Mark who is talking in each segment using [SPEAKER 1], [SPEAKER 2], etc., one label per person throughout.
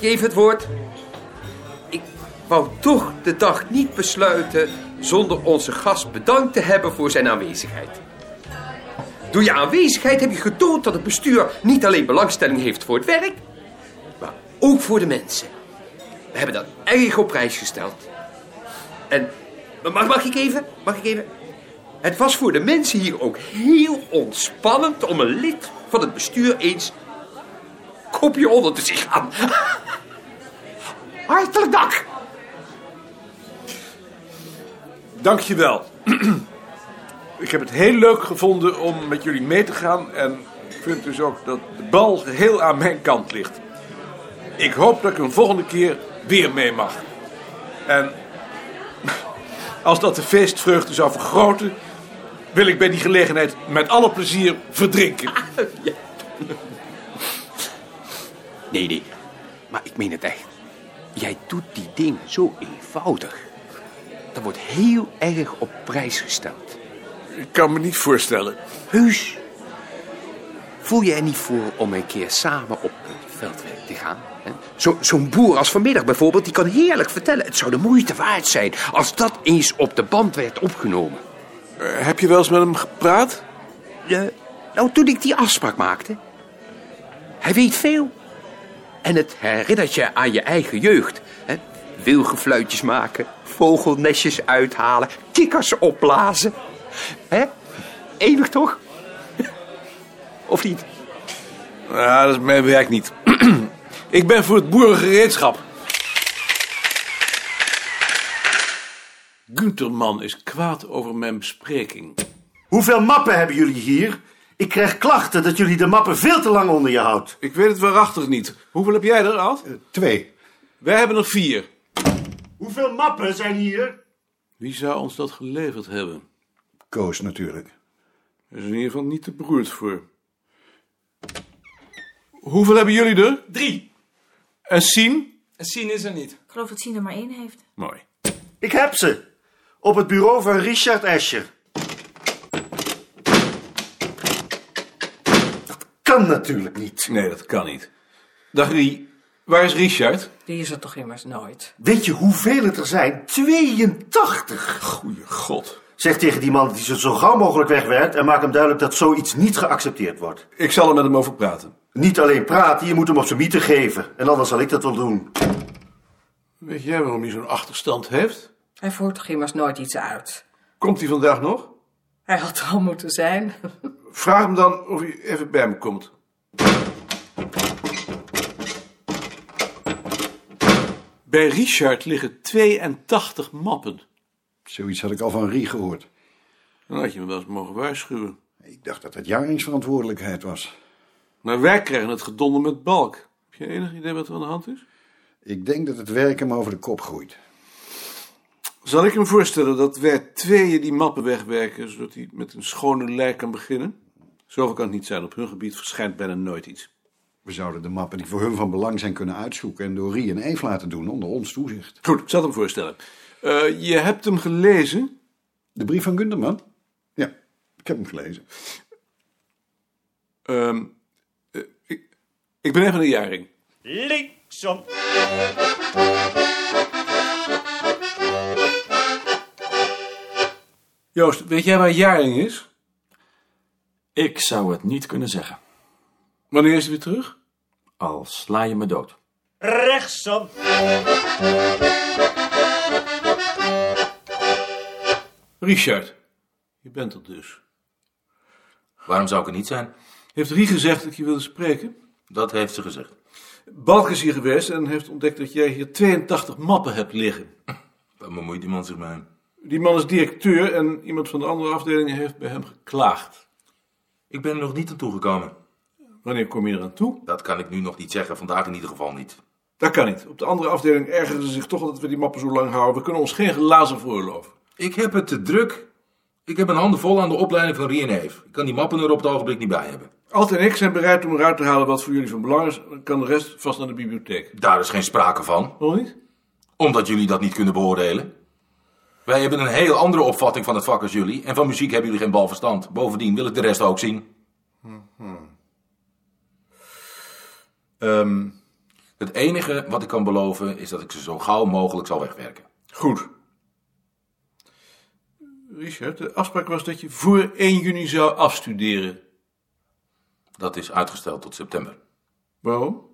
[SPEAKER 1] geef het woord. Ik wou toch de dag niet besluiten zonder onze gast bedankt te hebben voor zijn aanwezigheid. Door je aanwezigheid heb je getoond dat het bestuur niet alleen belangstelling heeft voor het werk, maar ook voor de mensen. We hebben dat erg op prijs gesteld. En mag, mag ik even? Mag ik even? Het was voor de mensen hier ook heel ontspannend om een lid van het bestuur eens kopje onder te zien gaan. Hartelijk dank.
[SPEAKER 2] Dankjewel. ik heb het heel leuk gevonden om met jullie mee te gaan. En ik vind dus ook dat de bal geheel aan mijn kant ligt. Ik hoop dat ik een volgende keer weer mee mag. En als dat de feestvreugde zou vergroten, wil ik bij die gelegenheid met alle plezier verdrinken.
[SPEAKER 1] Nee, nee. Maar ik meen het echt. Jij doet die dingen zo eenvoudig. Dat wordt heel erg op prijs gesteld.
[SPEAKER 2] Ik kan me niet voorstellen.
[SPEAKER 1] Heus. Voel je er niet voor om een keer samen op het veldwerk te gaan? hè? Zo- Zo'n boer als vanmiddag bijvoorbeeld, die kan heerlijk vertellen. Het zou de moeite waard zijn als dat eens op de band werd opgenomen.
[SPEAKER 2] Eh, heb je wel eens met hem gepraat?
[SPEAKER 1] Eh, nou, toen ik die afspraak maakte. Hij weet veel. En het herinnert je aan je eigen jeugd. Hè? Wilgefluitjes maken, vogelnestjes uithalen, kikkers opblazen. Hè? Enig toch? Of niet?
[SPEAKER 2] Ja, dat is mijn werk niet. ik ben voor het boerengereedschap. Gunterman is kwaad over mijn bespreking.
[SPEAKER 3] Hoeveel mappen hebben jullie hier? Ik krijg klachten dat jullie de mappen veel te lang onder je houdt.
[SPEAKER 2] Ik weet het waarachtig niet. Hoeveel heb jij er, Ad?
[SPEAKER 4] Twee.
[SPEAKER 2] Wij hebben er vier.
[SPEAKER 3] Hoeveel mappen zijn hier?
[SPEAKER 2] Wie zou ons dat geleverd hebben?
[SPEAKER 4] Koos natuurlijk.
[SPEAKER 2] Hij is in ieder geval niet te beroerd voor. Hoeveel hebben jullie er?
[SPEAKER 5] Drie.
[SPEAKER 2] En Sien?
[SPEAKER 5] En Sien is er niet.
[SPEAKER 6] Ik geloof dat Sien er maar één heeft.
[SPEAKER 2] Mooi.
[SPEAKER 3] Ik heb ze. Op het bureau van Richard Escher. Dat kan natuurlijk niet.
[SPEAKER 2] Nee, dat kan niet. Dag Rie. Waar is Richard?
[SPEAKER 7] Die is er toch immers nooit?
[SPEAKER 3] Weet je hoeveel het er zijn? 82.
[SPEAKER 2] Goeie god.
[SPEAKER 3] Zeg tegen die man die ze zo gauw mogelijk wegwerkt en maak hem duidelijk dat zoiets niet geaccepteerd wordt.
[SPEAKER 2] Ik zal er met hem over praten.
[SPEAKER 3] Niet alleen praten, je moet hem op zijn mythe geven. En anders zal ik dat wel doen.
[SPEAKER 2] Weet jij waarom hij zo'n achterstand heeft?
[SPEAKER 7] Hij voert toch immers nooit iets uit?
[SPEAKER 2] Komt hij vandaag nog?
[SPEAKER 7] Hij had er al moeten zijn.
[SPEAKER 2] Vraag hem dan of hij even bij me komt. Bij Richard liggen 82 mappen.
[SPEAKER 4] Zoiets had ik al van Rie gehoord.
[SPEAKER 2] Dan had je me wel eens mogen waarschuwen.
[SPEAKER 4] Ik dacht dat het jaringsverantwoordelijkheid was.
[SPEAKER 2] Maar wij krijgen het gedonder met balk. Heb je enig idee wat er aan de hand is?
[SPEAKER 4] Ik denk dat het werk hem over de kop groeit.
[SPEAKER 2] Zal ik hem voorstellen dat wij tweeën die mappen wegwerken, zodat hij met een schone lijn kan beginnen? Zoveel kan het niet zijn. Op hun gebied verschijnt bijna nooit iets.
[SPEAKER 4] We zouden de mappen die voor hun van belang zijn kunnen uitzoeken en door Rie en Eve laten doen onder ons toezicht.
[SPEAKER 2] Goed, ik zal hem voorstellen. Eh, je hebt hem gelezen.
[SPEAKER 4] De brief van Gunderman? Ja, ik heb hem gelezen.
[SPEAKER 2] Ehm eh, ik, ik ben even een jaring.
[SPEAKER 8] Linksom.
[SPEAKER 2] Joost, weet jij waar jaring is?
[SPEAKER 5] Ik zou het niet kunnen zeggen.
[SPEAKER 2] Wanneer is hij weer terug?
[SPEAKER 5] Al sla je me dood.
[SPEAKER 8] Rechtsom.
[SPEAKER 2] Richard, je bent er dus.
[SPEAKER 9] Waarom zou ik er niet zijn?
[SPEAKER 2] Heeft Rie gezegd dat je wilde spreken?
[SPEAKER 9] Dat heeft ze gezegd.
[SPEAKER 2] Balk is hier geweest en heeft ontdekt dat jij hier 82 mappen hebt liggen.
[SPEAKER 9] Waar bemoeit die man zich mee?
[SPEAKER 2] Die man is directeur en iemand van de andere afdeling heeft bij hem geklaagd.
[SPEAKER 9] Ik ben er nog niet aan toegekomen.
[SPEAKER 2] Wanneer kom je eraan toe?
[SPEAKER 9] Dat kan ik nu nog niet zeggen, vandaag in ieder geval niet.
[SPEAKER 2] Dat kan niet. Op de andere afdeling ergeren ze zich toch dat we die mappen zo lang houden. We kunnen ons geen glazen veroorloven.
[SPEAKER 9] Ik heb het te druk. Ik heb mijn handen vol aan de opleiding van Rien Eve. Ik kan die mappen er op het ogenblik niet bij hebben.
[SPEAKER 2] Alt en ik zijn bereid om eruit te halen wat voor jullie van belang is. Dan kan de rest vast naar de bibliotheek.
[SPEAKER 9] Daar is geen sprake van,
[SPEAKER 2] Nog niet?
[SPEAKER 9] omdat jullie dat niet kunnen beoordelen. Wij hebben een heel andere opvatting van het vak als jullie. En van muziek hebben jullie geen balverstand. Bovendien wil ik de rest ook Hm, zien. Ehm, Het enige wat ik kan beloven is dat ik ze zo gauw mogelijk zal wegwerken.
[SPEAKER 2] Goed. Richard, de afspraak was dat je voor 1 juni zou afstuderen.
[SPEAKER 9] Dat is uitgesteld tot september.
[SPEAKER 2] Waarom?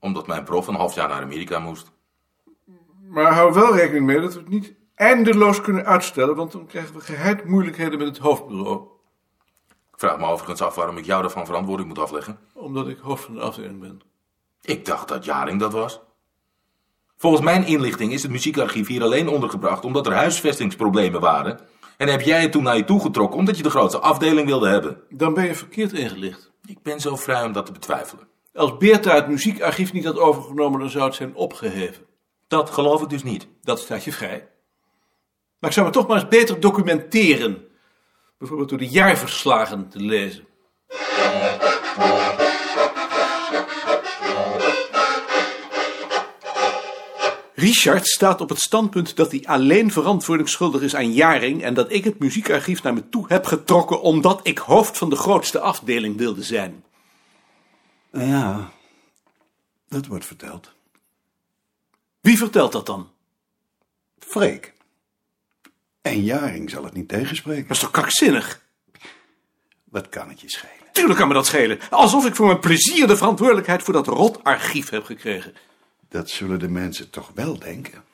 [SPEAKER 9] Omdat mijn prof een half jaar naar Amerika moest.
[SPEAKER 2] Maar hou wel rekening mee dat we het niet eindeloos kunnen uitstellen, want dan krijgen we geheid moeilijkheden met het hoofdbureau.
[SPEAKER 9] Ik vraag me overigens af waarom ik jou daarvan verantwoording moet afleggen.
[SPEAKER 2] Omdat ik hoofd van de afdeling ben.
[SPEAKER 9] Ik dacht dat Jaring dat was. Volgens mijn inlichting is het muziekarchief hier alleen ondergebracht omdat er huisvestingsproblemen waren. En heb jij het toen naar je toe getrokken omdat je de grootste afdeling wilde hebben.
[SPEAKER 2] Dan ben je verkeerd ingelicht.
[SPEAKER 9] Ik ben zo vrij om dat te betwijfelen.
[SPEAKER 2] Als Beerta het muziekarchief niet had overgenomen, dan zou het zijn opgeheven.
[SPEAKER 9] Dat geloof ik dus niet.
[SPEAKER 2] Dat staat je vrij. Maar ik zou me toch maar eens beter documenteren. Bijvoorbeeld door de jaarverslagen te lezen. Richard staat op het standpunt dat hij alleen verantwoordingsschuldig is aan Jaring en dat ik het muziekarchief naar me toe heb getrokken omdat ik hoofd van de grootste afdeling wilde zijn.
[SPEAKER 4] Eh, Ja, dat wordt verteld.
[SPEAKER 2] Wie vertelt dat dan?
[SPEAKER 4] Freek. En Jaring zal het niet tegenspreken.
[SPEAKER 2] Dat is toch kakzinnig?
[SPEAKER 4] Wat kan het je schelen?
[SPEAKER 2] Tuurlijk kan me dat schelen. Alsof ik voor mijn plezier de verantwoordelijkheid voor dat rot archief heb gekregen.
[SPEAKER 4] Dat zullen de mensen toch wel denken.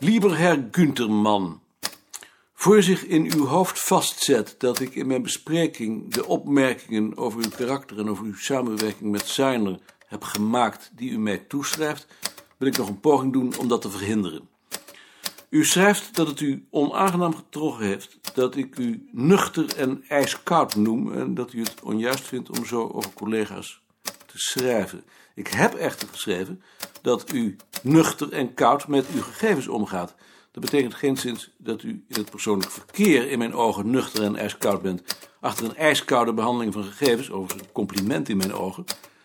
[SPEAKER 2] Lieber Herr Günterman, voor zich in uw hoofd vastzet dat ik in mijn bespreking de opmerkingen over uw karakter en over uw samenwerking met Seiner heb gemaakt die u mij toeschrijft, wil ik nog een poging doen om dat te verhinderen. U schrijft dat het u onaangenaam getroffen heeft dat ik u nuchter en ijskoud noem en dat u het onjuist vindt om zo over collega's te schrijven. Ik heb echter geschreven dat u nuchter en koud met uw gegevens omgaat. Dat betekent geenszins dat u in het persoonlijk verkeer in mijn ogen nuchter en ijskoud bent. Achter een ijskoude behandeling van gegevens, overigens een compliment in mijn ogen,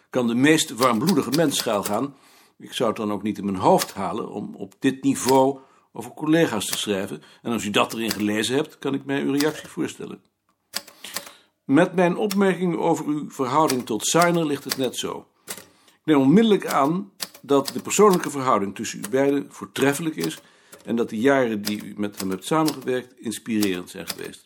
[SPEAKER 2] kan de meest warmbloedige mens schuil gaan. Ik zou het dan ook niet in mijn hoofd halen om op dit niveau over collega's te schrijven. En als u dat erin gelezen hebt, kan ik mij uw reactie voorstellen. Met mijn opmerking over uw verhouding tot Seiner ligt het net zo. Ik neem onmiddellijk aan dat de persoonlijke verhouding tussen u beiden voortreffelijk is en dat de jaren die u met hem hebt samengewerkt inspirerend zijn geweest.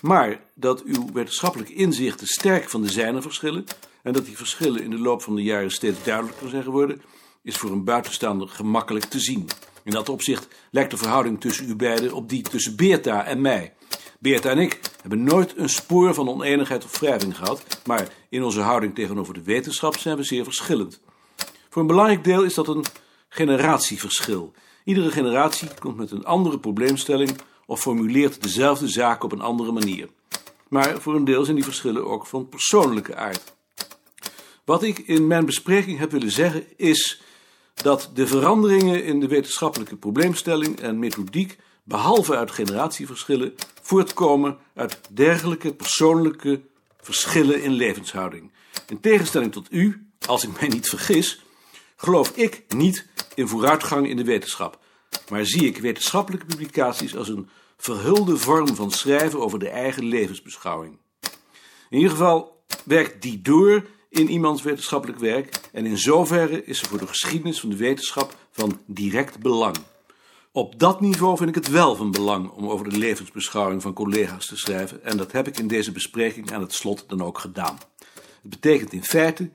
[SPEAKER 2] Maar dat uw wetenschappelijke inzichten sterk van de zijne verschillen en dat die verschillen in de loop van de jaren steeds duidelijker zijn geworden, is voor een buitenstaander gemakkelijk te zien. In dat opzicht lijkt de verhouding tussen u beiden op die tussen Beerta en mij. Beerta en ik hebben nooit een spoor van oneenigheid of wrijving gehad, maar in onze houding tegenover de wetenschap zijn we zeer verschillend. Voor een belangrijk deel is dat een generatieverschil. Iedere generatie komt met een andere probleemstelling of formuleert dezelfde zaak op een andere manier. Maar voor een deel zijn die verschillen ook van persoonlijke aard. Wat ik in mijn bespreking heb willen zeggen is dat de veranderingen in de wetenschappelijke probleemstelling en methodiek, behalve uit generatieverschillen, voortkomen uit dergelijke persoonlijke verschillen in levenshouding. In tegenstelling tot u, als ik mij niet vergis, geloof ik niet in vooruitgang in de wetenschap, maar zie ik wetenschappelijke publicaties als een verhulde vorm van schrijven over de eigen levensbeschouwing. In ieder geval werkt die door in iemands wetenschappelijk werk en in zoverre is ze voor de geschiedenis van de wetenschap van direct belang. Op dat niveau vind ik het wel van belang om over de levensbeschouwing van collega's te schrijven en dat heb ik in deze bespreking aan het slot dan ook gedaan. Het betekent in feite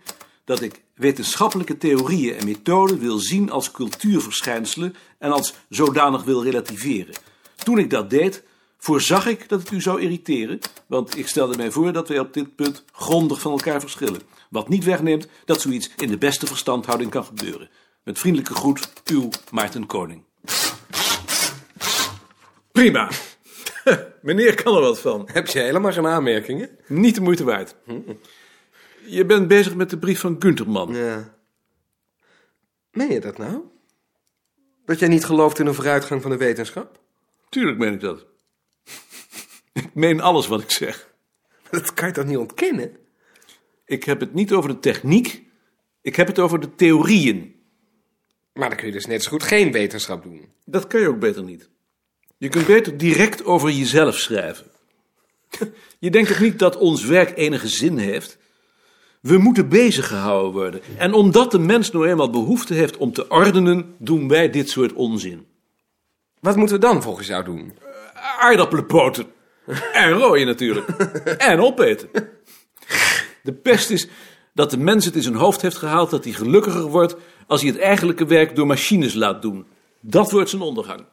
[SPEAKER 2] dat ik wetenschappelijke theorieën en methoden wil zien als cultuurverschijnselen en als zodanig wil relativeren. Toen ik dat deed, voorzag ik dat het u zou irriteren, want ik stelde mij voor dat wij op dit punt grondig van elkaar verschillen. Wat niet wegneemt dat zoiets in de beste verstandhouding kan gebeuren. Met vriendelijke groet, uw Maarten Koning.
[SPEAKER 6] Prima. Meneer kan er wat van.
[SPEAKER 1] Heb je helemaal geen aanmerkingen?
[SPEAKER 6] Niet de moeite waard.
[SPEAKER 2] Je bent bezig met de brief van Gunterman.
[SPEAKER 1] Ja. Meen je dat nou? Dat jij niet gelooft in een vooruitgang van de wetenschap?
[SPEAKER 2] Tuurlijk meen ik dat. ik meen alles wat ik zeg.
[SPEAKER 1] Dat kan je toch niet ontkennen?
[SPEAKER 2] Ik heb het niet over de techniek, ik heb het over de theorieën.
[SPEAKER 1] Maar dan kun je dus net zo goed geen wetenschap doen.
[SPEAKER 2] Dat kan je ook beter niet. Je kunt beter direct over jezelf schrijven. Je denkt toch niet dat ons werk enige zin heeft? We moeten bezig gehouden worden. En omdat de mens nou eenmaal behoefte heeft om te ordenen, doen wij dit soort onzin.
[SPEAKER 1] Wat moeten we dan volgens jou doen?
[SPEAKER 2] Aardappelenpoten. En rooien natuurlijk. En opeten. De pest is dat de mens het in zijn hoofd heeft gehaald dat hij gelukkiger wordt als hij het eigenlijke werk door machines laat doen. Dat wordt zijn ondergang.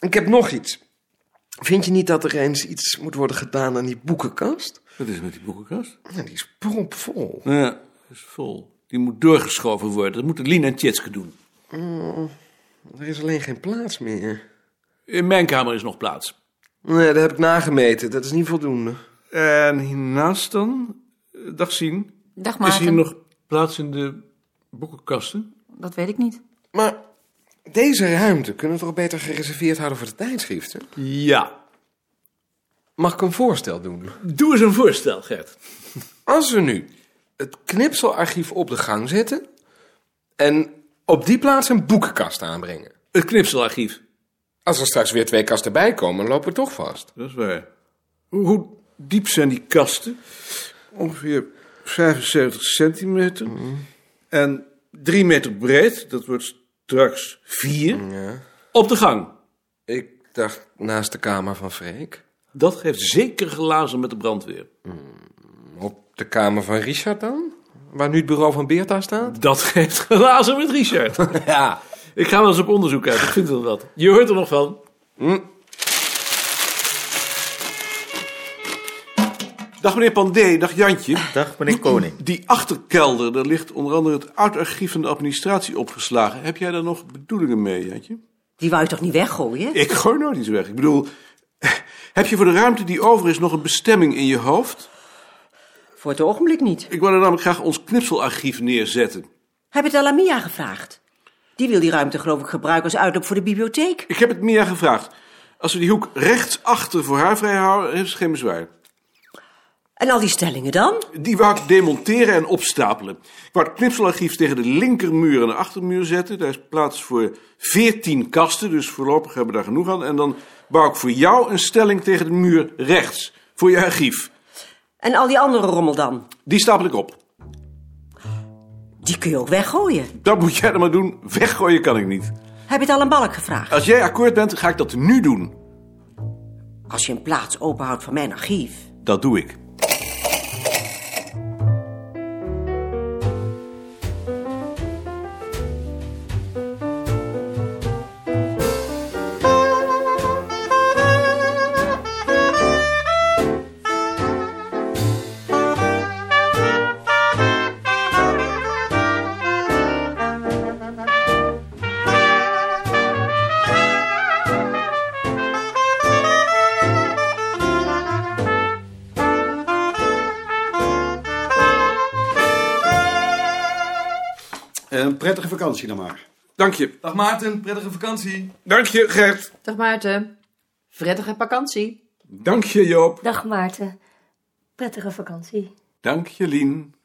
[SPEAKER 1] Ik heb nog iets. Vind je niet dat er eens iets moet worden gedaan aan die boekenkast?
[SPEAKER 2] Wat is met die boekenkast?
[SPEAKER 1] Ja, die is propvol.
[SPEAKER 2] Nou Ja, is vol. Die moet doorgeschoven worden. Dat moeten Lien en Tjitske doen.
[SPEAKER 1] Er is alleen geen plaats meer.
[SPEAKER 2] In mijn kamer is nog plaats.
[SPEAKER 1] Nee, dat heb ik nagemeten. Dat is niet voldoende.
[SPEAKER 2] En hiernaast dan, eh, dag zien,
[SPEAKER 10] Dag
[SPEAKER 2] is
[SPEAKER 10] Maarten.
[SPEAKER 2] hier nog plaats in de boekenkasten?
[SPEAKER 10] Dat weet ik niet.
[SPEAKER 1] Maar deze ruimte kunnen we toch beter gereserveerd houden voor de tijdschriften?
[SPEAKER 2] Ja.
[SPEAKER 1] Mag ik een voorstel doen?
[SPEAKER 2] Doe eens een voorstel, Gert.
[SPEAKER 1] Als we nu het knipselarchief op de gang zetten en op die plaats een boekenkast aanbrengen.
[SPEAKER 2] Het knipselarchief.
[SPEAKER 1] Als er straks weer twee kasten bij komen, lopen we toch vast.
[SPEAKER 2] Dat is waar. Hoe, hoe diep zijn die kasten? Ongeveer 75 centimeter. En 3 meter breed. Dat wordt straks 4. Op de gang.
[SPEAKER 1] Ik dacht naast de kamer van Freek.
[SPEAKER 2] Dat geeft zeker glazen met de brandweer.
[SPEAKER 1] Op de kamer van Richard dan? Waar nu het bureau van Beerta staat?
[SPEAKER 2] Dat geeft glazen met Richard.
[SPEAKER 1] Ja.
[SPEAKER 2] Ik ga wel eens op onderzoek uit. Ik vind wel wat. Je hoort er nog van. Hm. Dag meneer Pandé, dag Jantje.
[SPEAKER 11] Dag, meneer Koning.
[SPEAKER 2] Die achterkelder, daar ligt onder andere het oud archief van de administratie opgeslagen. Heb jij daar nog bedoelingen mee, Jantje?
[SPEAKER 10] Die wou je toch niet weggooien?
[SPEAKER 2] Ik gooi nooit iets weg. Ik bedoel, heb je voor de ruimte die over is nog een bestemming in je hoofd?
[SPEAKER 10] Voor het ogenblik niet.
[SPEAKER 2] Ik wil er namelijk graag ons knipselarchief neerzetten.
[SPEAKER 10] Heb je het al aan Mia gevraagd? Die wil die ruimte geloof ik gebruiken als uitloop voor de bibliotheek.
[SPEAKER 2] Ik heb het Mia gevraagd. Als we die hoek rechtsachter voor haar vrijhouden, heeft ze geen bezwaar.
[SPEAKER 10] En al die stellingen dan?
[SPEAKER 2] Die wou ik demonteren en opstapelen. Ik wou het knipselarchief tegen de linkermuur en de achtermuur zetten. Daar is plaats voor veertien kasten, dus voorlopig hebben we daar genoeg aan. En dan bouw ik voor jou een stelling tegen de muur rechts, voor je archief.
[SPEAKER 10] En al die andere rommel dan?
[SPEAKER 2] Die stapel ik op.
[SPEAKER 10] Die kun je ook weggooien.
[SPEAKER 2] Dat moet jij dan maar doen. Weggooien kan ik niet.
[SPEAKER 10] Heb je het al aan Balk gevraagd?
[SPEAKER 2] Als jij akkoord bent, ga ik dat nu doen.
[SPEAKER 10] Als je een plaats openhoudt van mijn archief.
[SPEAKER 2] Dat doe ik.
[SPEAKER 4] Eh,
[SPEAKER 12] Een prettige vakantie dan maar.
[SPEAKER 2] Dank je.
[SPEAKER 1] Dag Maarten, prettige vakantie.
[SPEAKER 2] Dank je, Gert.
[SPEAKER 13] Dag Maarten. Prettige vakantie.
[SPEAKER 2] Dank je, Joop.
[SPEAKER 14] Dag Maarten. Prettige vakantie.
[SPEAKER 2] Dank je, Lien.